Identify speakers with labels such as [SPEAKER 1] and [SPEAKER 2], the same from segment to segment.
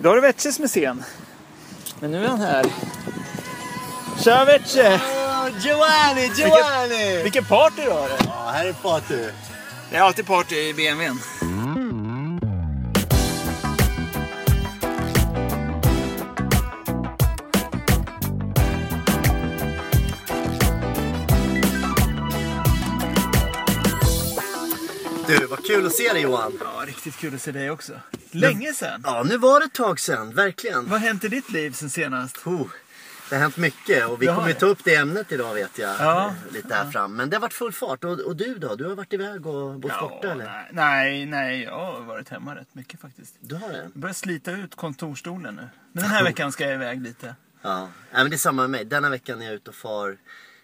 [SPEAKER 1] Idag är det Vetche som är sen. Men nu är han här. Tja Vetche!
[SPEAKER 2] Giovanni, Giovanni!
[SPEAKER 1] Vilken party du har!
[SPEAKER 2] Ja, här är Fatu.
[SPEAKER 1] Det är alltid party i BMWn.
[SPEAKER 2] Du, vad kul att se dig Johan.
[SPEAKER 1] Ja, riktigt kul att se dig också. Länge sedan!
[SPEAKER 2] Ja, nu var det ett tag sedan, verkligen.
[SPEAKER 1] Vad har hänt i ditt liv sen senast?
[SPEAKER 2] Oh, det har hänt mycket och vi
[SPEAKER 1] Det har
[SPEAKER 2] kommer ju
[SPEAKER 1] det.
[SPEAKER 2] ta upp det ämnet idag vet jag.
[SPEAKER 1] Ja.
[SPEAKER 2] eh, Lite här fram. Men det har varit full fart. Och, och du då? Du har varit iväg och bott borta eller?
[SPEAKER 1] nej, nej, nej, jag har varit hemma rätt mycket faktiskt.
[SPEAKER 2] Du har det?
[SPEAKER 1] Jag börjar slita ut kontorstolen nu. Men den här veckan ska jag iväg lite.
[SPEAKER 2] Ja. Nej, men det är samma med mig. Denna veckan är jag ute och far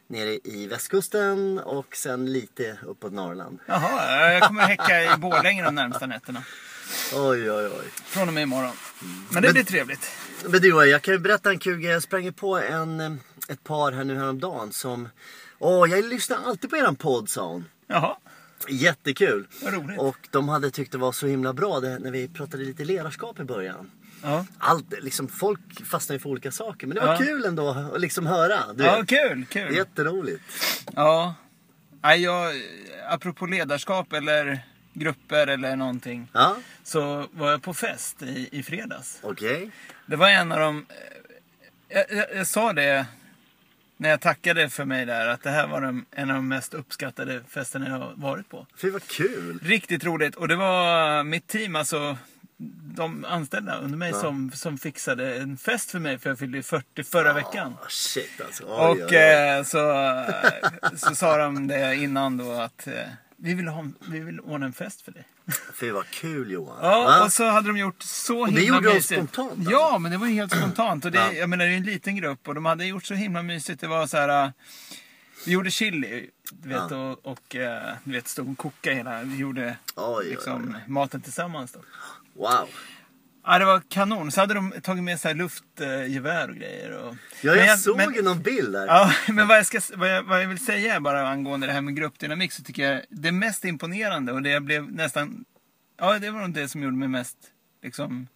[SPEAKER 2] nere i västkusten och sen lite uppåt Norrland.
[SPEAKER 1] Jaha, jag kommer häcka i Borlänge de närmsta nätterna.
[SPEAKER 2] Oj, oj, oj.
[SPEAKER 1] Från och med imorgon. Men det blir trevligt.
[SPEAKER 2] Men du, jag kan ju berätta en kul grej. Jag sprang ju på en, eh, ett par här nu häromdagen som... Åh, jag lyssnar alltid på eran podd, sa hon.
[SPEAKER 1] Jaha,
[SPEAKER 2] Jättekul.
[SPEAKER 1] vad roligt.
[SPEAKER 2] Och de hade tyckt det var så himla bra det, när vi pratade lite ledarskap i början.
[SPEAKER 1] Ja.
[SPEAKER 2] Allt, liksom, folk fastnar ju för olika saker, men det var
[SPEAKER 1] Ja.
[SPEAKER 2] kul ändå att liksom höra. Du,
[SPEAKER 1] ja,
[SPEAKER 2] vet.
[SPEAKER 1] kul, kul.
[SPEAKER 2] Jätteroligt.
[SPEAKER 1] Ja. Nej, jag, apropå ledarskap eller grupper eller någonting.
[SPEAKER 2] Ja,
[SPEAKER 1] Så var jag på fest i, i fredags.
[SPEAKER 2] okej.
[SPEAKER 1] Det var en av de... eh, Jag, jag, jag sa det när jag tackade för mig där. Att det här var de, en av de mest uppskattade festerna jag har varit på.
[SPEAKER 2] Fy vad kul.
[SPEAKER 1] Riktigt roligt. Och det var mitt team, alltså de anställda under mig som, som fixade en fest för mig. För jag fyllde 40 förra veckan.
[SPEAKER 2] Ah, shit alltså. Oj,
[SPEAKER 1] Och
[SPEAKER 2] oj, oj.
[SPEAKER 1] eh, så, eh, så sa de det innan då att eh, vi vill, ha, en- vi vill ordna en fest för dig.
[SPEAKER 2] Fy vad kul Johan.
[SPEAKER 1] Ja,
[SPEAKER 2] Va?
[SPEAKER 1] och så hade de gjort så
[SPEAKER 2] det
[SPEAKER 1] himla
[SPEAKER 2] gjorde de
[SPEAKER 1] mysigt.
[SPEAKER 2] spontant, alltså?
[SPEAKER 1] Ja, men det var ju helt spontant. Och det,
[SPEAKER 2] Ja.
[SPEAKER 1] Jag menar, det är en liten grupp och de hade gjort så himla mysigt. Det var så här... eh, Vi gjorde chili, du vet,
[SPEAKER 2] Ja.
[SPEAKER 1] och, och eh, du vet, stod och kokade hela... Vi gjorde
[SPEAKER 2] oj,
[SPEAKER 1] liksom,
[SPEAKER 2] oj, oj.
[SPEAKER 1] maten tillsammans då.
[SPEAKER 2] Wow.
[SPEAKER 1] Ja, det var kanon. Så hade de tagit med så här luftgevär och grejer. Och...
[SPEAKER 2] Ja,
[SPEAKER 1] Men
[SPEAKER 2] jag såg
[SPEAKER 1] men-
[SPEAKER 2] ju någon bild där.
[SPEAKER 1] Ja, men vad jag, ska, vad, jag, vad jag vill säga är bara angående det här med gruppdynamik så tycker jag det mest imponerande och det jag blev nästan... Ja, det var nog det som gjorde mig mest liksom...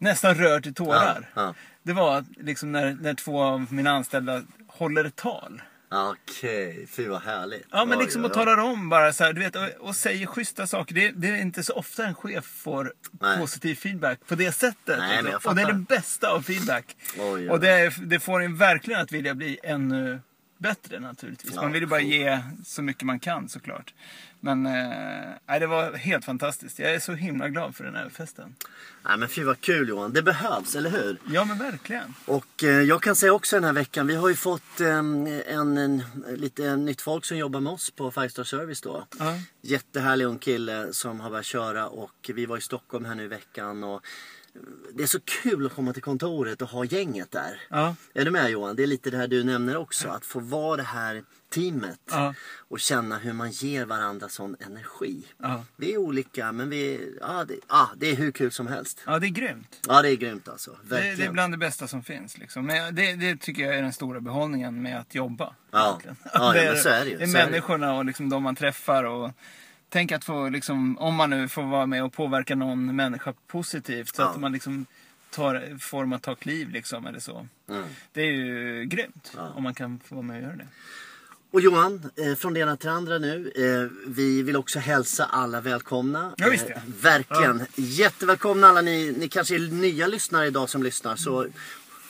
[SPEAKER 1] Nästan rörd till tårar.
[SPEAKER 2] Ja, ja.
[SPEAKER 1] Det var att, liksom när, när två av mina anställda håller ett tal.
[SPEAKER 2] Okej, fy vad härligt.
[SPEAKER 1] Ja, men
[SPEAKER 2] Oj,
[SPEAKER 1] liksom
[SPEAKER 2] oj,
[SPEAKER 1] och
[SPEAKER 2] oj.
[SPEAKER 1] talar om bara så här, du vet, och, och säger schyssta saker. Det, det är inte så ofta en chef får
[SPEAKER 2] Nej.
[SPEAKER 1] positiv feedback på det sättet.
[SPEAKER 2] Nej, men jag
[SPEAKER 1] och det är
[SPEAKER 2] fattar.
[SPEAKER 1] det bästa av feedback.
[SPEAKER 2] Oj, oj,
[SPEAKER 1] Och det, är- det får en verkligen att vilja bli ännu bättre naturligtvis.
[SPEAKER 2] Ja,
[SPEAKER 1] man vill ju bara
[SPEAKER 2] cool.
[SPEAKER 1] ge så mycket man kan såklart. Men eh, nej, det var helt fantastiskt. Jag är så himla glad för den här festen.
[SPEAKER 2] Nej, men fy vad kul Johan. Det behövs, eller hur?
[SPEAKER 1] Ja men verkligen.
[SPEAKER 2] Och eh, jag kan säga också den här veckan, vi har ju fått eh, en, en, lite nytt folk som jobbar med oss på Five Star Service då.
[SPEAKER 1] Ja.
[SPEAKER 2] Jättehärlig ung kille som har börjat köra och vi var i Stockholm här nu i veckan och eh, det är så kul att komma till kontoret och ha gänget där.
[SPEAKER 1] Ja.
[SPEAKER 2] Är du med Johan? Det är lite det här du nämner också, att få vara det här teamet
[SPEAKER 1] Ja.
[SPEAKER 2] och känna hur man ger varandra sån energi.
[SPEAKER 1] Ja.
[SPEAKER 2] Vi är olika men vi, ja, det, ja, det är hur kul som helst.
[SPEAKER 1] ja, det är grymt.
[SPEAKER 2] Ja det är grymt alltså,
[SPEAKER 1] Det,
[SPEAKER 2] verkligen.
[SPEAKER 1] det är bland det bästa som finns. Liksom. Men det, det tycker jag är den stora behållningen med att jobba.
[SPEAKER 2] Ja.
[SPEAKER 1] egentligen.
[SPEAKER 2] Ja, ja, men så är det ju,
[SPEAKER 1] Det är
[SPEAKER 2] så är det ju.
[SPEAKER 1] människorna och liksom de man träffar. Och, tänk att få, liksom, om man nu får vara med och påverka någon människa positivt. Så
[SPEAKER 2] Ja.
[SPEAKER 1] att man liksom tar, får man ta kliv liksom, eller så.
[SPEAKER 2] Mm.
[SPEAKER 1] Det är ju grymt
[SPEAKER 2] Ja.
[SPEAKER 1] om man kan få vara med och göra det.
[SPEAKER 2] Och Johan, eh, från det ena till det andra nu. Eh, vi vill också hälsa alla välkomna. Eh,
[SPEAKER 1] Ja, visst, ja.
[SPEAKER 2] verkligen. Jättevälkomna alla ni. Ni kanske är nya lyssnare idag som lyssnar. Så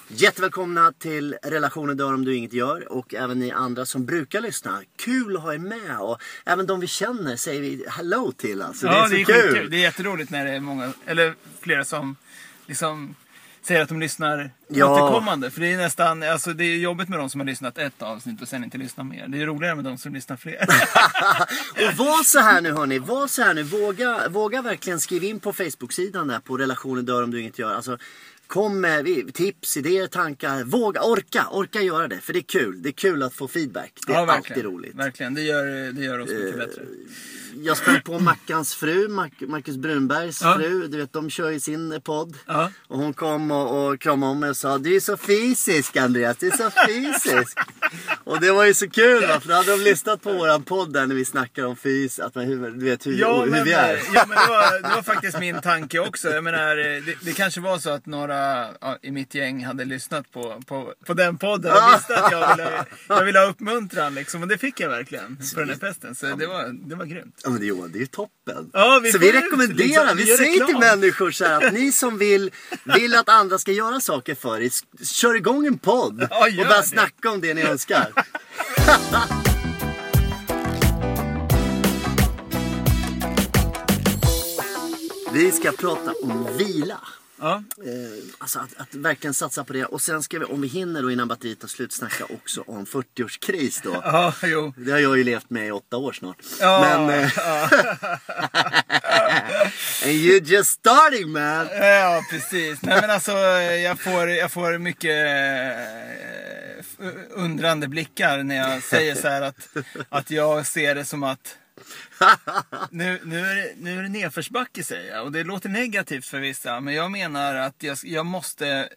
[SPEAKER 2] jättevälkomna till relationen dör om du inget gör. Och även ni andra som brukar lyssna. Kul att ha er med. Och även de vi känner säger vi hello till. Alltså. det är så
[SPEAKER 1] skitkul.
[SPEAKER 2] kul.
[SPEAKER 1] Det är jätteroligt när det är många, eller flera som liksom säger att de lyssnar
[SPEAKER 2] Ja.
[SPEAKER 1] återkommande. För det är nästan, alltså det är jobbigt med de som har lyssnat ett avsnitt och sen inte lyssnar mer. Det är roligare med de som lyssnar fler.
[SPEAKER 2] Och var så här nu hörni, var så här nu. Våga, våga verkligen skriva in på Facebook-sidan där på relationen dör om du inget gör. Alltså, kom med vi- tips, idéer, tankar. Våga, orka, orka göra det. För det är kul. Det är kul att få feedback. Det är
[SPEAKER 1] Ja,
[SPEAKER 2] alltid
[SPEAKER 1] verkligen.
[SPEAKER 2] roligt. Eh,
[SPEAKER 1] Verkligen, det gör, det gör oss mycket bättre.
[SPEAKER 2] Jag sprang på Mackans fru, Mac- Marcus Brunbergs
[SPEAKER 1] Ja.
[SPEAKER 2] fru. Du vet, de kör ju sin podd.
[SPEAKER 1] Ja.
[SPEAKER 2] Och hon kom och, och kramade om mig och sa, du är så fysisk Andreas, du är så fysisk. Och det var ju så kul va, för då hade de lyssnat på våran podd där när vi snackar om fys, att man, hur, du vet hur,
[SPEAKER 1] Ja,
[SPEAKER 2] hur
[SPEAKER 1] men, eh,
[SPEAKER 2] vi är.
[SPEAKER 1] ja, men det, var, det var faktiskt min tanke också. Jag menar, eh, det, det kanske var så att några ja, i mitt gäng hade lyssnat på, på, på den podden och visste att jag ville, jag ville ha uppmuntran. Liksom, och det fick jag verkligen på den här festen. Så det var, det var grymt.
[SPEAKER 2] Ja men det, Johan, det är ju toppen.
[SPEAKER 1] Ja, vi
[SPEAKER 2] så vi
[SPEAKER 1] får-
[SPEAKER 2] rekommenderar,
[SPEAKER 1] liksom,
[SPEAKER 2] vi
[SPEAKER 1] gör
[SPEAKER 2] säger till
[SPEAKER 1] reklam.
[SPEAKER 2] människor så här att ni som vill, vill att andra ska göra saker för er, s- kör igång en podd
[SPEAKER 1] Ja,
[SPEAKER 2] och
[SPEAKER 1] gör
[SPEAKER 2] börja
[SPEAKER 1] det.
[SPEAKER 2] snacka om det ni önskar. vi ska prata om vila.
[SPEAKER 1] Ja.
[SPEAKER 2] Eh, Alltså att, att verkligen satsa på det. Och sen ska vi, om vi hinner då innan batteriet tar slut, snacka också om 40-årskris då.
[SPEAKER 1] Ja, jo.
[SPEAKER 2] Det har jag ju levt med i åtta år snart.
[SPEAKER 1] Ja,
[SPEAKER 2] Men, eh, And you just starting man!
[SPEAKER 1] Ja, precis. Nej, men alltså, jag, får, jag får mycket eh, f- undrande blickar när jag säger så här att, att jag ser det som att nu, nu, är det, nu är det nedförsbacke säger jag. Och det låter negativt för vissa. Men jag menar att jag, jag måste,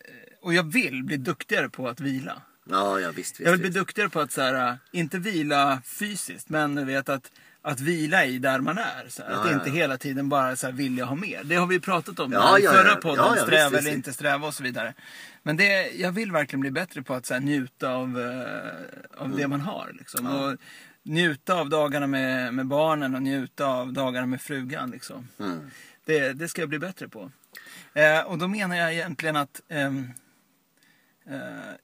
[SPEAKER 1] och jag vill bli duktigare på att vila.
[SPEAKER 2] Ja, ja visst,
[SPEAKER 1] Jag
[SPEAKER 2] visst.
[SPEAKER 1] vill bli
[SPEAKER 2] visst.
[SPEAKER 1] duktigare på att så här, äh, inte vila fysiskt, men du vet att, att vila i där man är. Så här,
[SPEAKER 2] Ja,
[SPEAKER 1] att
[SPEAKER 2] ja,
[SPEAKER 1] inte
[SPEAKER 2] ja.
[SPEAKER 1] hela tiden bara så här, vilja ha mer. Det har vi ju pratat om
[SPEAKER 2] Ja,
[SPEAKER 1] i
[SPEAKER 2] ja,
[SPEAKER 1] förra
[SPEAKER 2] ja.
[SPEAKER 1] podden,
[SPEAKER 2] Ja, ja,
[SPEAKER 1] sträva
[SPEAKER 2] visst, visst,
[SPEAKER 1] eller
[SPEAKER 2] visst.
[SPEAKER 1] inte sträva och så vidare. Men det, jag vill verkligen bli bättre på att så här, njuta av, eh, av
[SPEAKER 2] Mm.
[SPEAKER 1] det man har. Liksom. Och njuta av dagarna med, med barnen och njuta av dagarna med frugan. Liksom.
[SPEAKER 2] Mm,
[SPEAKER 1] Det, det ska jag bli bättre på. Eh, och då menar jag egentligen att ehm, Eh,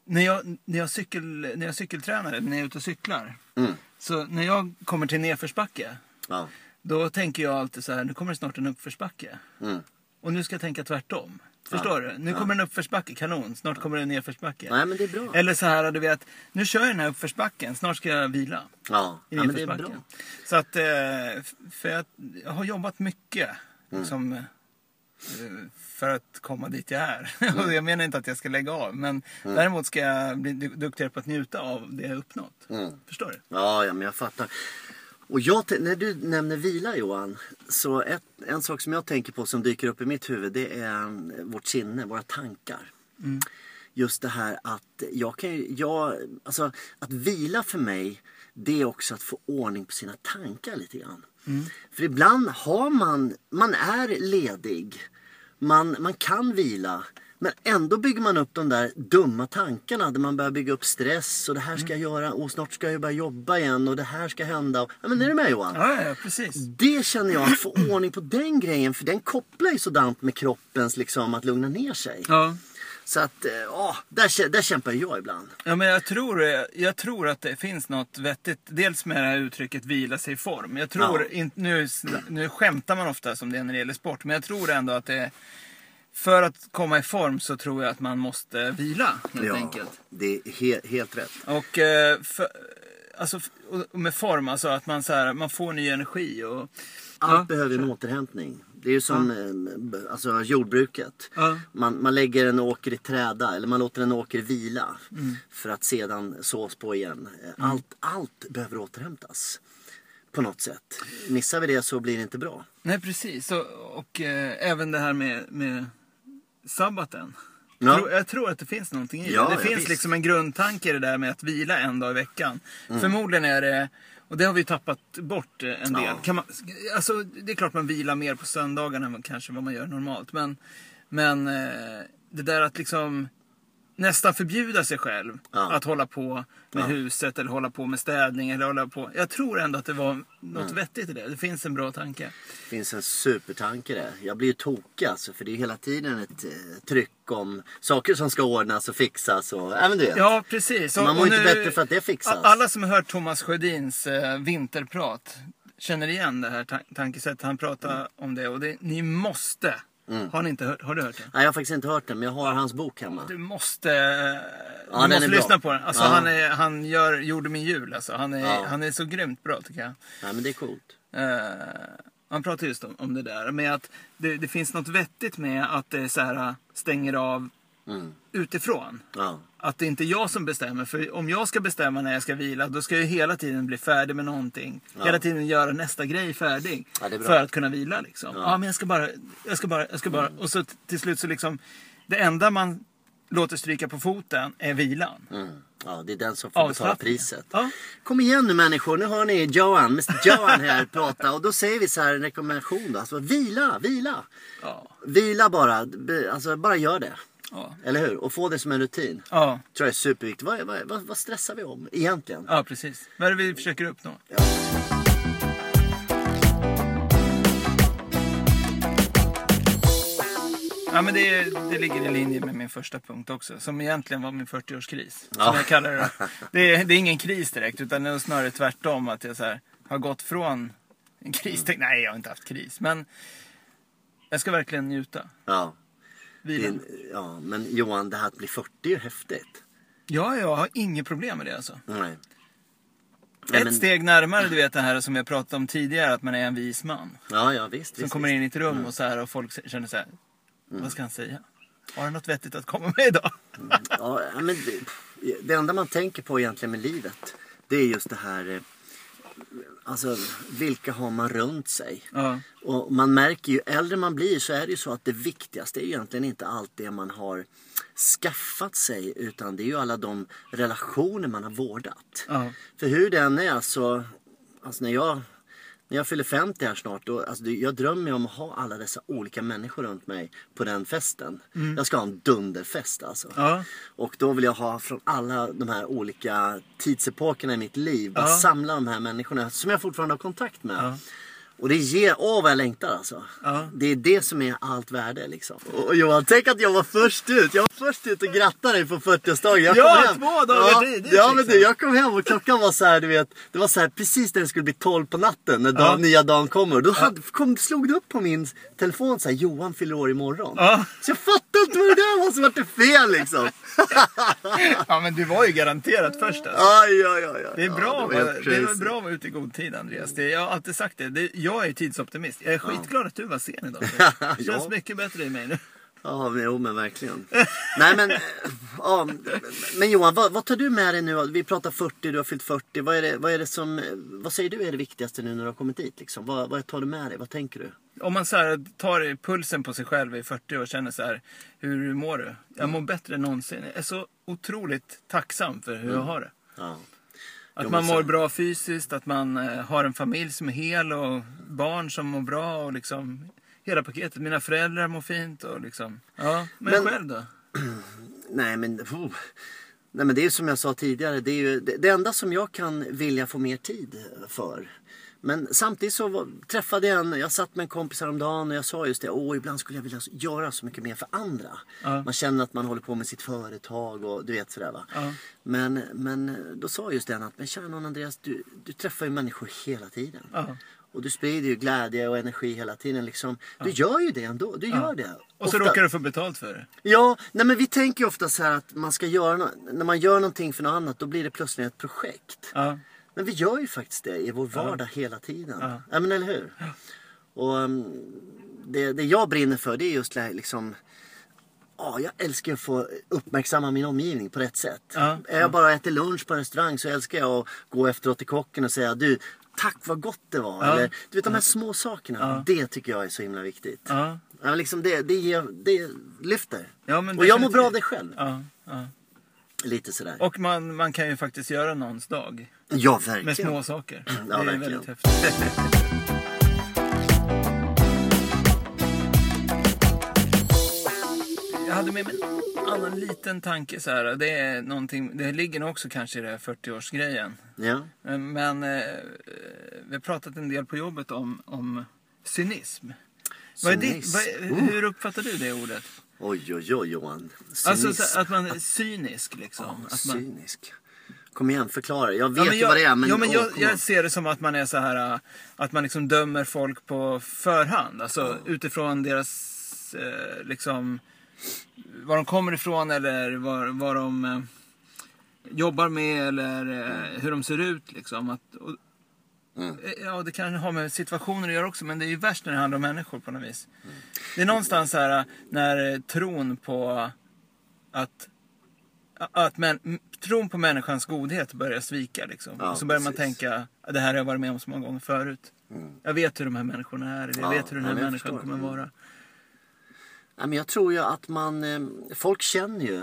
[SPEAKER 1] när, jag, när, jag cykel, när jag cykeltränar, eller när jag är ute och cyklar.
[SPEAKER 2] Mm.
[SPEAKER 1] Så när jag kommer till nedförsbacke,
[SPEAKER 2] Ja.
[SPEAKER 1] då tänker jag alltid så här, nu kommer det snart en uppförsbacke.
[SPEAKER 2] Mm.
[SPEAKER 1] Och nu ska jag tänka tvärtom. Förstår du? Nu kommer en uppförsbacke, kanon. Snart kommer det en nedförsbacke.
[SPEAKER 2] Nej men det är bra.
[SPEAKER 1] Eller så här, du vet, nu kör jag den här uppförsbacken, snart ska jag vila.
[SPEAKER 2] Ja,
[SPEAKER 1] I
[SPEAKER 2] ja men det är
[SPEAKER 1] nedförsbacken.
[SPEAKER 2] bra.
[SPEAKER 1] Så att, eh, f- för jag, jag har jobbat mycket. Liksom, eh, för att komma dit jag är. Och jag menar inte att jag ska lägga av. Men däremot ska jag bli du- duktigare på att njuta av det jag uppnått.
[SPEAKER 2] Mm.
[SPEAKER 1] Förstår du?
[SPEAKER 2] Ja, ja men jag fattar. Och jag, tän- när du nämner vila Johan, så ett, en sak som jag tänker på som dyker upp i mitt huvud det är eh, vårt sinne, våra tankar.
[SPEAKER 1] Mm.
[SPEAKER 2] Just det här att jag kan ju, jag, alltså att vila för mig det är också att få ordning på sina tankar lite grann.
[SPEAKER 1] Mm.
[SPEAKER 2] För ibland har man, man är ledig, man, man kan vila. Men ändå bygger man upp de där dumma tankarna där man börjar bygga upp stress och det här ska
[SPEAKER 1] Mm.
[SPEAKER 2] jag göra och snart ska jag börja jobba igen och det här ska hända. Och, ja, men är du med Johan?
[SPEAKER 1] Ja, ja, precis.
[SPEAKER 2] Det känner jag, att få ordning på den grejen för den kopplar ju sådant med kroppens liksom att lugna ner sig.
[SPEAKER 1] Ja.
[SPEAKER 2] Så att, eh, ja, där, kä- där kämpar jag ibland.
[SPEAKER 1] Ja, men jag, tror, jag tror att det finns något vettigt. Dels med det här uttrycket vila sig i form. Jag tror,
[SPEAKER 2] Ja.
[SPEAKER 1] inte- nu, nu skämtar man ofta som det är när det gäller sport. Men jag tror ändå att det för att komma i form så tror jag att man måste vila helt enkelt.
[SPEAKER 2] det är he- helt rätt.
[SPEAKER 1] Och, eh, för, alltså, f- och med form, alltså att man, så här, man får ny energi. Och,
[SPEAKER 2] Allt
[SPEAKER 1] Ja.
[SPEAKER 2] behöver en återhämtning. Det är ju som eh, b- alltså, jordbruket.
[SPEAKER 1] Ja.
[SPEAKER 2] Man, man lägger en åker i träda eller man låter en åker vila
[SPEAKER 1] Mm.
[SPEAKER 2] för att sedan sås på igen. Eh, Allt, allt behöver återhämtas på något sätt. Missar vi det så blir det inte bra.
[SPEAKER 1] Nej, precis. Och, och eh, även det här med, med sabbaten.
[SPEAKER 2] Ja.
[SPEAKER 1] Jag, tror, jag tror att det finns någonting i
[SPEAKER 2] Ja,
[SPEAKER 1] det. Det
[SPEAKER 2] ja,
[SPEAKER 1] finns
[SPEAKER 2] visst.
[SPEAKER 1] liksom en grundtanke i det där med att vila en dag i veckan.
[SPEAKER 2] Mm.
[SPEAKER 1] Förmodligen är det, och det har vi tappat bort eh, en del.
[SPEAKER 2] Ja.
[SPEAKER 1] Kan man, alltså, det är klart man vilar mer på söndagarna än vad- kanske vad man gör normalt. Men, men eh, det där att liksom nästan förbjuda sig själv
[SPEAKER 2] Ja.
[SPEAKER 1] att hålla på med huset eller hålla på med städning. Eller hålla på. Jag tror ändå att det var något
[SPEAKER 2] Mm.
[SPEAKER 1] vettigt i det. Det finns en bra tanke.
[SPEAKER 2] Det finns en supertanke där. Jag blir ju tokig alltså, för det är ju hela tiden ett eh, tryck om saker som ska ordnas och fixas. Och, även du vet.
[SPEAKER 1] Ja, precis. Och-
[SPEAKER 2] Man mår
[SPEAKER 1] och
[SPEAKER 2] inte bättre för att det fixas.
[SPEAKER 1] A- Alla som har hört Thomas Sjödins eh, vinterprat känner igen det här ta- tankesättet. Han pratar om det och det, ni måste.
[SPEAKER 2] Mm.
[SPEAKER 1] Har, ni inte hört, har du hört det?
[SPEAKER 2] Nej, jag har faktiskt inte hört den, men jag har hans bok hemma.
[SPEAKER 1] Du måste,
[SPEAKER 2] Ja,
[SPEAKER 1] du
[SPEAKER 2] den
[SPEAKER 1] måste
[SPEAKER 2] är bra.
[SPEAKER 1] lyssna på den. Alltså,
[SPEAKER 2] Ja.
[SPEAKER 1] han, är, han gör, gjorde min jul alltså. Han är,
[SPEAKER 2] Ja.
[SPEAKER 1] han är så grymt bra tycker jag.
[SPEAKER 2] Nej, men det är coolt.
[SPEAKER 1] Eh, han pratar just om, om det där med att det, det finns något vettigt med att det så här, stänger av
[SPEAKER 2] Mm.
[SPEAKER 1] utifrån
[SPEAKER 2] Ja.
[SPEAKER 1] att det inte är jag som bestämmer. För om jag ska bestämma när jag ska vila, då ska jag ju hela tiden bli färdig med någonting. Hela tiden göra nästa grej färdig.
[SPEAKER 2] Ja, det är bra.
[SPEAKER 1] för att kunna vila liksom. Ja, men jag ska bara, jag ska bara, jag ska bara. Och så t- till slut så liksom, det enda man låter stryka på foten är vilan.
[SPEAKER 2] Mm. Ja, det är den som får betala
[SPEAKER 1] Avslappning.
[SPEAKER 2] priset.
[SPEAKER 1] Ja.
[SPEAKER 2] Kom igen nu människor, nu hör ni Johan, Mr Johan här prata. Och då säger vi så här en rekommendation då. Alltså, vila, vila.
[SPEAKER 1] Ja.
[SPEAKER 2] Vila bara. Be- Alltså bara gör det.
[SPEAKER 1] Ja.
[SPEAKER 2] Eller hur? Och få det som en rutin.
[SPEAKER 1] Ja.
[SPEAKER 2] Tror jag är superviktigt. Vad, vad, vad, vad stressar vi om egentligen?
[SPEAKER 1] ja, precis. Vad är det vi försöker uppnå?
[SPEAKER 2] Ja.
[SPEAKER 1] Ja, men det, det ligger i linje med min första punkt också, som egentligen var min 40-årskris.
[SPEAKER 2] Ja.
[SPEAKER 1] Som jag kallar det. det. är- Det är ingen kris direkt, utan det är snarare tvärtom. Att jag så här, har gått från en kris till... Nej, jag har inte haft kris, men jag ska verkligen njuta.
[SPEAKER 2] Ja.
[SPEAKER 1] Vila.
[SPEAKER 2] Din, ja. Men Johan, det här att bli 40 är ju häftigt.
[SPEAKER 1] Ja, jag har inget problem med det alltså.
[SPEAKER 2] Nej. Nej,
[SPEAKER 1] Ett
[SPEAKER 2] men-
[SPEAKER 1] steg närmare, du vet det här som jag pratade om tidigare, att man är en vis man.
[SPEAKER 2] Ja, ja visst.
[SPEAKER 1] Som
[SPEAKER 2] visst,
[SPEAKER 1] kommer
[SPEAKER 2] visst.
[SPEAKER 1] in i ett rum och så här och folk känner så här,
[SPEAKER 2] Mm.
[SPEAKER 1] vad ska han säga? Har han något vettigt att komma med idag?
[SPEAKER 2] Ja, ja, men det, det enda man tänker på egentligen med livet. Det är just det här. eh, Alltså vilka har man runt sig?
[SPEAKER 1] Ja,
[SPEAKER 2] Och man märker ju äldre man blir så är det ju så att det viktigaste är ju egentligen inte allt det man har skaffat sig utan det är ju alla de relationer man har vårdat.
[SPEAKER 1] Ja.
[SPEAKER 2] För hur den är så, alltså när jag, när jag fyller 50 här snart, då, alltså det- jag drömmer ju om att ha alla dessa olika människor runt mig på den festen. Jag ska ha en dunderfest alltså.
[SPEAKER 1] Mm. Ja.
[SPEAKER 2] Och då vill jag ha från alla de här olika tidsepokerna i mitt liv, bara
[SPEAKER 1] Ja.
[SPEAKER 2] samla de här människorna som jag fortfarande har kontakt med.
[SPEAKER 1] Ja.
[SPEAKER 2] Och det ger, åh vad jag längtar alltså.
[SPEAKER 1] Ja.
[SPEAKER 2] Det är det som är allt värde liksom. Och Johan, tänk att jag var först ut. Jag var först ut och grattade dig på 40-årsdagen. Jag
[SPEAKER 1] Ja,
[SPEAKER 2] kom hem.
[SPEAKER 1] två dagar
[SPEAKER 2] ja,
[SPEAKER 1] tidigt,
[SPEAKER 2] Ja, men
[SPEAKER 1] liksom.
[SPEAKER 2] du, jag kom hem och klockan var så här, du vet. Det var så här precis när det skulle bli 12 på natten, när dag,
[SPEAKER 1] Ja.
[SPEAKER 2] nya dagen kommer. Då hade, kom, slog det upp på min telefon så här, Johan fyller år imorgon.
[SPEAKER 1] Ja.
[SPEAKER 2] Så jag fattar inte vad det där var som vart det fel liksom.
[SPEAKER 1] ja men du var ju garanterat först alltså.
[SPEAKER 2] Aj, aj, aj, aj.
[SPEAKER 1] Det är, bra,
[SPEAKER 2] ja,
[SPEAKER 1] att
[SPEAKER 2] det var
[SPEAKER 1] vara-
[SPEAKER 2] helt
[SPEAKER 1] det är
[SPEAKER 2] crazy.
[SPEAKER 1] bra att vara ute i god tid Andreas. Det, jag har alltid sagt det. det. Jag är tidsoptimist. Jag är skitglad att du var sen idag. Det känns
[SPEAKER 2] Ja.
[SPEAKER 1] mycket bättre i mig nu.
[SPEAKER 2] Ja, men, jo men verkligen. Nej men, eh, ja, men Johan, vad, vad tar du med dig nu? Vi pratar 40, du har fyllt 40. Vad, är det, vad, är det som, vad säger du är det viktigaste nu när du har kommit dit? Liksom? Vad, vad tar du med dig? Vad tänker du?
[SPEAKER 1] Om man så här, tar i pulsen på sig själv i 40 år och känner så här, hur mår du?
[SPEAKER 2] Mm.
[SPEAKER 1] Jag mår bättre än någonsin. Jag är så otroligt tacksam för hur jag har det.
[SPEAKER 2] Ja,
[SPEAKER 1] Att
[SPEAKER 2] Mm. Jo,
[SPEAKER 1] man
[SPEAKER 2] men så-
[SPEAKER 1] mår bra fysiskt, att man eh, har en familj som är hel och barn som mår bra och liksom hela paketet. Mina föräldrar mår fint och liksom. Ja, men,
[SPEAKER 2] Men-
[SPEAKER 1] själv då?
[SPEAKER 2] nej, men, oh. nej men det är ju som jag sa tidigare. Det, är ju, det, det enda som jag kan vilja få mer tid för. Men samtidigt så var, träffade jag en, jag satt med en kompis häromdagen och jag sa just det, åh ibland skulle jag vilja göra så mycket mer för andra.
[SPEAKER 1] Ja.
[SPEAKER 2] Man känner att man håller på med sitt företag och du vet sådär va.
[SPEAKER 1] Ja.
[SPEAKER 2] Men, men då sa just den att, men kära någon Andreas, du, du träffar ju människor hela tiden.
[SPEAKER 1] Ja.
[SPEAKER 2] Och du sprider ju glädje och energi hela tiden. Liksom. Du gör ju det ändå. Du gör det.
[SPEAKER 1] Och så
[SPEAKER 2] Ofta-
[SPEAKER 1] råkar du få betalt för det.
[SPEAKER 2] Ja, nej men vi tänker ju ofta så här att man ska göra nå- när man gör någonting för något annat då blir det plötsligt ett projekt.
[SPEAKER 1] Ja.
[SPEAKER 2] Men vi gör ju faktiskt det i vår vardag hela tiden. Ja.
[SPEAKER 1] Ja.
[SPEAKER 2] men eller hur? Och um, det, det jag brinner för det är just det här, liksom Ja, jag älskar att få uppmärksamma min omgivning på rätt sätt.
[SPEAKER 1] Ja.
[SPEAKER 2] Är jag bara äter lunch på en restaurang så älskar jag att gå efteråt till kocken och säga du, tack vad gott det var.
[SPEAKER 1] Ja.
[SPEAKER 2] Eller, du vet de här små sakerna, det tycker jag är så himla viktigt.
[SPEAKER 1] Ja.
[SPEAKER 2] Ja, men liksom det, det, ger, det lyfter.
[SPEAKER 1] Ja, men
[SPEAKER 2] och jag mår
[SPEAKER 1] definitivt.
[SPEAKER 2] bra av det själv.
[SPEAKER 1] Ja, ja.
[SPEAKER 2] Lite sådär.
[SPEAKER 1] Och man, man kan ju faktiskt göra någons dag
[SPEAKER 2] ja,
[SPEAKER 1] med
[SPEAKER 2] verkligen.
[SPEAKER 1] små saker. det är
[SPEAKER 2] verkligen.
[SPEAKER 1] väldigt häftigt. Jag hade med mig en annan liten tanke så här. och Det, är någonting, det ligger nog också kanske i det här 40-årsgrejen.
[SPEAKER 2] Ja.
[SPEAKER 1] Eh, Men eh, eh, vi har pratat en del på jobbet om, om cynism. Vad är ditt,
[SPEAKER 2] Cynism. Oh.
[SPEAKER 1] vad, är- hur uppfattar du det ordet?
[SPEAKER 2] Oj, oj, oj, Johan. Cynism.
[SPEAKER 1] Alltså så, att man är cynisk liksom. att man,
[SPEAKER 2] Cynisk. Kom igen, förklara. Jag vet
[SPEAKER 1] men
[SPEAKER 2] ju
[SPEAKER 1] jag,
[SPEAKER 2] vad det är, men...
[SPEAKER 1] ja, men
[SPEAKER 2] åh,
[SPEAKER 1] jag,
[SPEAKER 2] kom igen.
[SPEAKER 1] jag ser det som att man är så här äh, att man liksom dömer folk på förhand. Alltså utifrån deras eh, liksom var de kommer ifrån eller vad, vad de eh, jobbar med eller eh, hur de ser ut liksom. Att, och, Eh, Ja, det kanske har med situationer att göra också, men det är ju värst när det handlar om människor på något vis. Det är någonstans så här äh, när eh, tron på att att men, m- tron på människans godhet börjar svika. Liksom.
[SPEAKER 2] Ja,
[SPEAKER 1] och så börjar man
[SPEAKER 2] precis. Mm.
[SPEAKER 1] tänka, det här har jag varit med om så många gånger förut. Jag vet hur de här människorna är, eller jag
[SPEAKER 2] Ja,
[SPEAKER 1] vet hur den
[SPEAKER 2] ja,
[SPEAKER 1] här
[SPEAKER 2] men jag
[SPEAKER 1] människan
[SPEAKER 2] förstår.
[SPEAKER 1] kommer
[SPEAKER 2] Mm.
[SPEAKER 1] vara.
[SPEAKER 2] Nej, men jag tror ehm, ju att man... eh, Folk känner ju...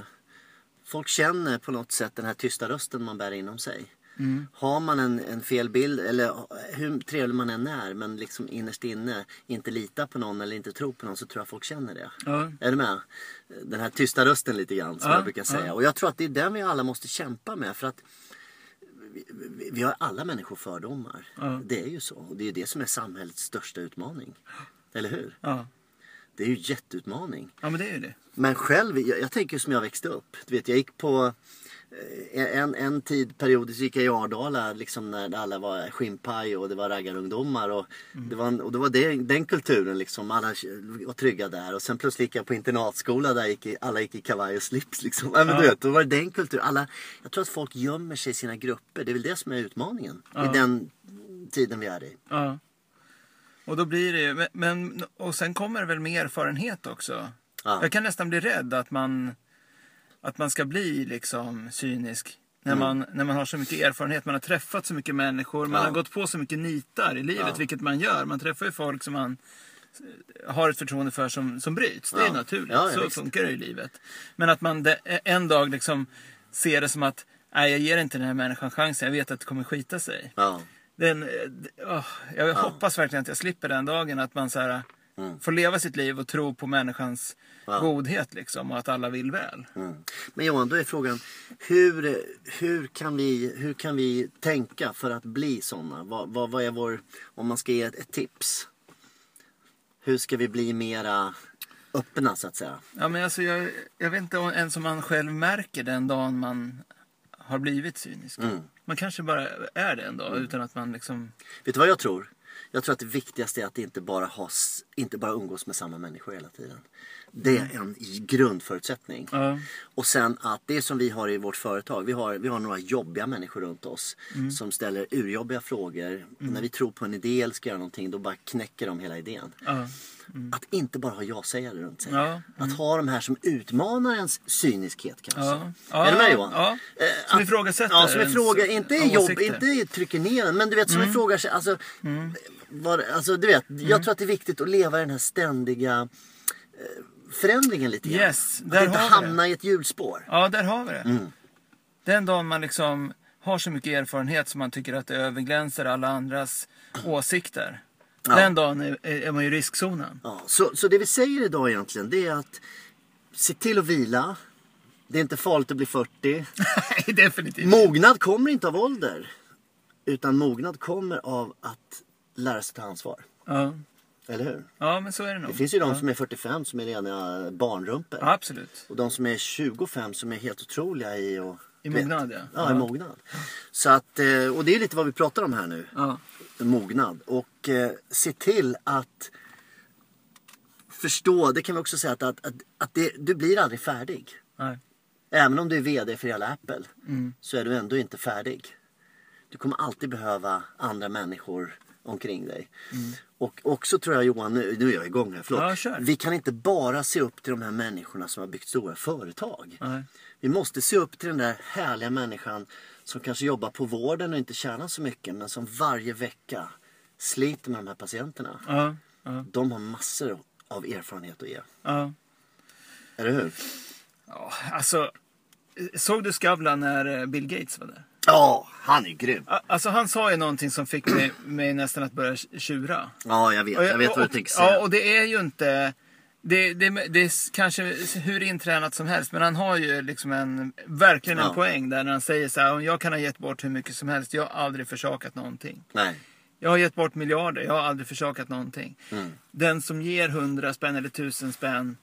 [SPEAKER 2] folk känner på något sätt den här tysta rösten man bär inom sig.
[SPEAKER 1] Mm.
[SPEAKER 2] Har man en, en fel bild, eller hur trevlig man än är, men liksom innerst inne inte litar på någon eller inte tror på någon så tror jag folk känner det.
[SPEAKER 1] Ja.
[SPEAKER 2] Är du med? Den här tysta rösten lite grann som
[SPEAKER 1] Ja,
[SPEAKER 2] jag brukar säga.
[SPEAKER 1] ja.
[SPEAKER 2] Och jag tror att det är den vi alla måste kämpa med. För att vi- vi, vi har alla människor fördomar.
[SPEAKER 1] Ja.
[SPEAKER 2] Det är ju så. Och det är ju det som är samhällets största utmaning. Eller hur?
[SPEAKER 1] Ja.
[SPEAKER 2] Det är ju jätteutmaning.
[SPEAKER 1] ja, men det är ju det.
[SPEAKER 2] Men själv, jag, jag tänker som jag växte upp. Du vet, jag gick på eh, en, en tid periodiskt gick jag i Ardala liksom när alla var skimpaj och det var raggarungdomar. Och det var, en, och det var det, den kulturen liksom. Alla var trygga där. Och sen plötsligt gick jag på internatskola där gick i, alla gick i kavaj och slips liksom. Ja, men du
[SPEAKER 1] Ja.
[SPEAKER 2] vet, då var det den kulturen. Alla, jag tror att folk gömmer sig i sina grupper. Det är väl det som är utmaningen. I den tiden vi är i.
[SPEAKER 1] Ja. Och då blir det ju, men- men, och sen kommer det väl mer erfarenhet också.
[SPEAKER 2] Ja.
[SPEAKER 1] Jag kan nästan bli rädd att man, att man ska bli liksom cynisk. När,
[SPEAKER 2] Mm.
[SPEAKER 1] man, när man har så mycket erfarenhet, man har träffat så mycket människor, man
[SPEAKER 2] Ja.
[SPEAKER 1] har gått på så mycket nitar i livet,
[SPEAKER 2] Ja.
[SPEAKER 1] vilket man gör. Man träffar ju folk som man eh, har ett förtroende för som, som bryts. Det är
[SPEAKER 2] Ja.
[SPEAKER 1] naturligt,
[SPEAKER 2] Ja, ja,
[SPEAKER 1] så
[SPEAKER 2] visst.
[SPEAKER 1] funkar det i livet. Men att man de, en dag liksom ser det som att, nej jag ger inte den här människan chansen, jag vet att det kommer skita sig.
[SPEAKER 2] Ja.
[SPEAKER 1] Den, eh, d- åh, jag hoppas verkligen att jag slipper den dagen. Att man så här, eh,
[SPEAKER 2] Mm.
[SPEAKER 1] får leva sitt liv och tro på människans godhet liksom, och att alla vill väl.
[SPEAKER 2] Mm. Men Johan, då är frågan hur, hur, kan vi, hur kan vi tänka för att bli sådana? Vad, vad, vad är vår, om man ska ge ett, ett tips. Hur ska vi bli mera öppna så att säga?
[SPEAKER 1] Ja, men alltså, jag, jag vet inte om- ens om man själv märker den dagen man har blivit cynisk.
[SPEAKER 2] Mm.
[SPEAKER 1] Man kanske bara är det en dag utan att man liksom...
[SPEAKER 2] Vet du vad jag tror? Jag tror att det viktigaste är att inte bara, ha, s- inte bara umgås med samma människor hela tiden. Det är en i- grundförutsättning.
[SPEAKER 1] Ja.
[SPEAKER 2] Och sen att det är som vi har i vårt företag. Vi har, vi har några jobbiga människor runt oss
[SPEAKER 1] Mm.
[SPEAKER 2] som ställer urjobbiga frågor. Och när vi tror på en idé eller ska göra någonting då bara knäcker de hela idén.
[SPEAKER 1] Ja.
[SPEAKER 2] Att inte bara ha ja-sägare runt sig.
[SPEAKER 1] Mm. Ja, Mm.
[SPEAKER 2] Att ha de här som utmanar ens cyniskhet kanske.
[SPEAKER 1] Ja. Ja,
[SPEAKER 2] Är du med Johan?
[SPEAKER 1] ja.
[SPEAKER 2] Eh,
[SPEAKER 1] Som
[SPEAKER 2] att-
[SPEAKER 1] ifrågasätter
[SPEAKER 2] Ja, som
[SPEAKER 1] ens
[SPEAKER 2] ifråga, inte i jobb,
[SPEAKER 1] åsikter. Mm.
[SPEAKER 2] inte trycker ner en, men du vet som ifrågar sig. Alltså, vad, alltså, du vet, jag tror att det är viktigt att leva i den här ständiga eh, förändringen lite grann.
[SPEAKER 1] Yes, där
[SPEAKER 2] att inte
[SPEAKER 1] har vi det.
[SPEAKER 2] hamna i ett hjulspår.
[SPEAKER 1] Ja, där har vi det.
[SPEAKER 2] Mm.
[SPEAKER 1] Den dagen man liksom har så mycket erfarenhet som man tycker att det överglänser alla andras åsikter. Den dagen är, är man i riskzonen.
[SPEAKER 2] Ja, så, så det vi säger idag egentligen det är att se till att vila. Det är inte farligt att bli 40.
[SPEAKER 1] Nej, definitivt.
[SPEAKER 2] Mognad kommer inte av ålder. Utan mognad kommer av att lära sig ta ansvar.
[SPEAKER 1] Ja.
[SPEAKER 2] Eller hur?
[SPEAKER 1] ja, men så är det nog.
[SPEAKER 2] Det finns ju de som är 45 som är rena barnrumpor.
[SPEAKER 1] Ja, absolut.
[SPEAKER 2] Och de som är 25 som är helt otroliga i och,
[SPEAKER 1] I
[SPEAKER 2] du vet.
[SPEAKER 1] mognad, ja.
[SPEAKER 2] Ja, i
[SPEAKER 1] Ja.
[SPEAKER 2] mognad. Så att, eh, och det är lite vad vi pratar om här nu.
[SPEAKER 1] Ja.
[SPEAKER 2] Mognad. Och eh, se till att förstå, det kan vi också säga, att, att, att, att det, du blir aldrig färdig.
[SPEAKER 1] Nej.
[SPEAKER 2] Även om du är VD för hela Apple
[SPEAKER 1] Mm.
[SPEAKER 2] så är du ändå inte färdig. Du kommer alltid behöva andra människor omkring dig. Och också tror jag Johan, nu, nu är jag igång här, förlåt.
[SPEAKER 1] Mm. Ja, kör.
[SPEAKER 2] Vi kan inte bara se upp till de här människorna som har byggt stora företag.
[SPEAKER 1] Nej.
[SPEAKER 2] Vi måste se upp till den där härliga människan som kanske jobbar på vården och inte tjänar så mycket men som varje vecka sliter med de här patienterna.
[SPEAKER 1] Ja. Ja.
[SPEAKER 2] De har massor av erfarenhet att ge.
[SPEAKER 1] ja.
[SPEAKER 2] Eller hur?
[SPEAKER 1] ja. Alltså, såg du Skavlan när eh, Bill Gates var där?
[SPEAKER 2] Ja, han är grym.
[SPEAKER 1] A- Alltså, han sa ju någonting som fick mig, mig nästan att börja tjura.
[SPEAKER 2] Ja, jag vet.
[SPEAKER 1] Och-
[SPEAKER 2] Jag vet vad
[SPEAKER 1] och-
[SPEAKER 2] du tänker säga.
[SPEAKER 1] Ja, och det är ju inte... Det, det, det är s- kanske hur intränat som helst, men han har ju liksom en, verkligen en
[SPEAKER 2] Ja.
[SPEAKER 1] poäng där när han säger så här, jag kan ha gett bort hur mycket som helst, jag har aldrig försakat någonting.
[SPEAKER 2] Nej.
[SPEAKER 1] Jag har gett bort miljarder, jag har aldrig försakat någonting.
[SPEAKER 2] Mm.
[SPEAKER 1] Den som ger hundra spänn eller tusen spänn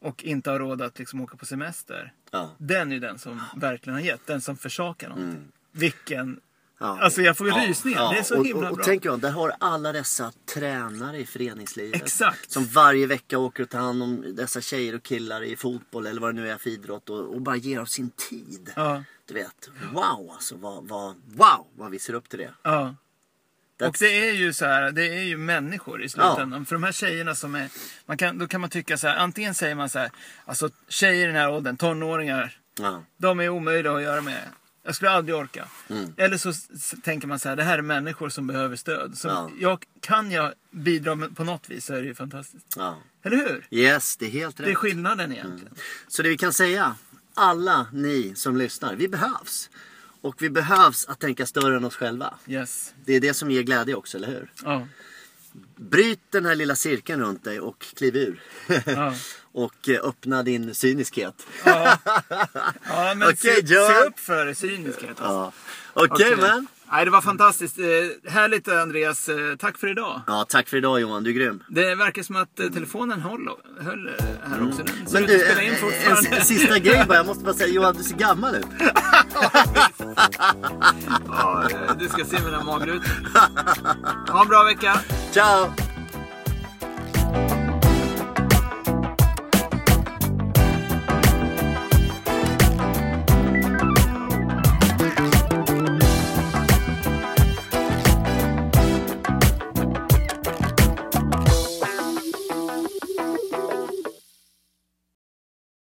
[SPEAKER 1] och inte har råd att liksom åka på semester,
[SPEAKER 2] Ja.
[SPEAKER 1] den är ju den som verkligen har gett, den som försakar någonting.
[SPEAKER 2] Mm.
[SPEAKER 1] Vilken...
[SPEAKER 2] Ja.
[SPEAKER 1] Alltså jag får ju rysningar, det är så
[SPEAKER 2] och,
[SPEAKER 1] himla
[SPEAKER 2] och, och
[SPEAKER 1] bra.
[SPEAKER 2] tänk jag, där har alla dessa tränare i föreningslivet.
[SPEAKER 1] Exakt.
[SPEAKER 2] Eh, Som varje vecka åker och tar hand om dessa tjejer och killar i fotboll eller vad det nu är för idrott och, och bara ger av sin tid.
[SPEAKER 1] Ja.
[SPEAKER 2] Du vet, wow alltså. Vad, vad, wow vad vi ser upp till det.
[SPEAKER 1] Ja.
[SPEAKER 2] That's-
[SPEAKER 1] Och det är ju så här, det är ju människor i slutändan. För de här tjejerna som är, man kan, då kan man tycka så här, antingen säger man så här, alltså tjejer i den här åldern, tonåringar,
[SPEAKER 2] Ja.
[SPEAKER 1] de är omöjliga att göra med. Jag skulle aldrig orka.
[SPEAKER 2] Mm.
[SPEAKER 1] Eller så s- s- tänker man så här, det här är människor som behöver stöd. Så
[SPEAKER 2] Ja.
[SPEAKER 1] jag, kan jag bidra med, på något vis så är det ju fantastiskt.
[SPEAKER 2] Ja.
[SPEAKER 1] Eller hur?
[SPEAKER 2] Yes, det är helt rätt. Mm.
[SPEAKER 1] Det är skillnaden egentligen.
[SPEAKER 2] Så det vi kan säga alla ni som lyssnar. Vi behövs. Och vi behövs att tänka större än oss själva.
[SPEAKER 1] Yes.
[SPEAKER 2] Det är det som ger glädje också, eller hur?
[SPEAKER 1] Ja.
[SPEAKER 2] Bryt den här lilla cirkeln runt dig och kliv ur.
[SPEAKER 1] Ja.
[SPEAKER 2] och eh, öppna din cyniskhet.
[SPEAKER 1] Ja. ja men
[SPEAKER 2] Okej,
[SPEAKER 1] se, se
[SPEAKER 2] Johan.
[SPEAKER 1] upp för cyniskhet. Alltså.
[SPEAKER 2] Ja. Okej,
[SPEAKER 1] Okej.
[SPEAKER 2] man.
[SPEAKER 1] Nej, det var fantastiskt. Eh, härligt Andreas. Eh, tack för idag.
[SPEAKER 2] Ja, tack för idag Johan, du är grym.
[SPEAKER 1] Det verkar som att eh, telefonen höll, höll eh, här också. Den ser ut
[SPEAKER 2] Mm. Men
[SPEAKER 1] att
[SPEAKER 2] du,
[SPEAKER 1] spela in
[SPEAKER 2] en, en
[SPEAKER 1] fortfarande.
[SPEAKER 2] s- sista grej bara. Jag måste bara säga Johan, du ser gammal ut.
[SPEAKER 1] Ja, eh, du ska se mina magrutor. Ha en bra vecka.
[SPEAKER 2] Ciao!